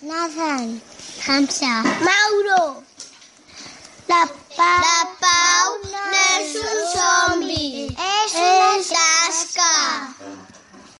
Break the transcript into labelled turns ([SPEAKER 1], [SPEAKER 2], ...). [SPEAKER 1] Nathan. Hamza.
[SPEAKER 2] Mauro.
[SPEAKER 1] La Pau.
[SPEAKER 2] La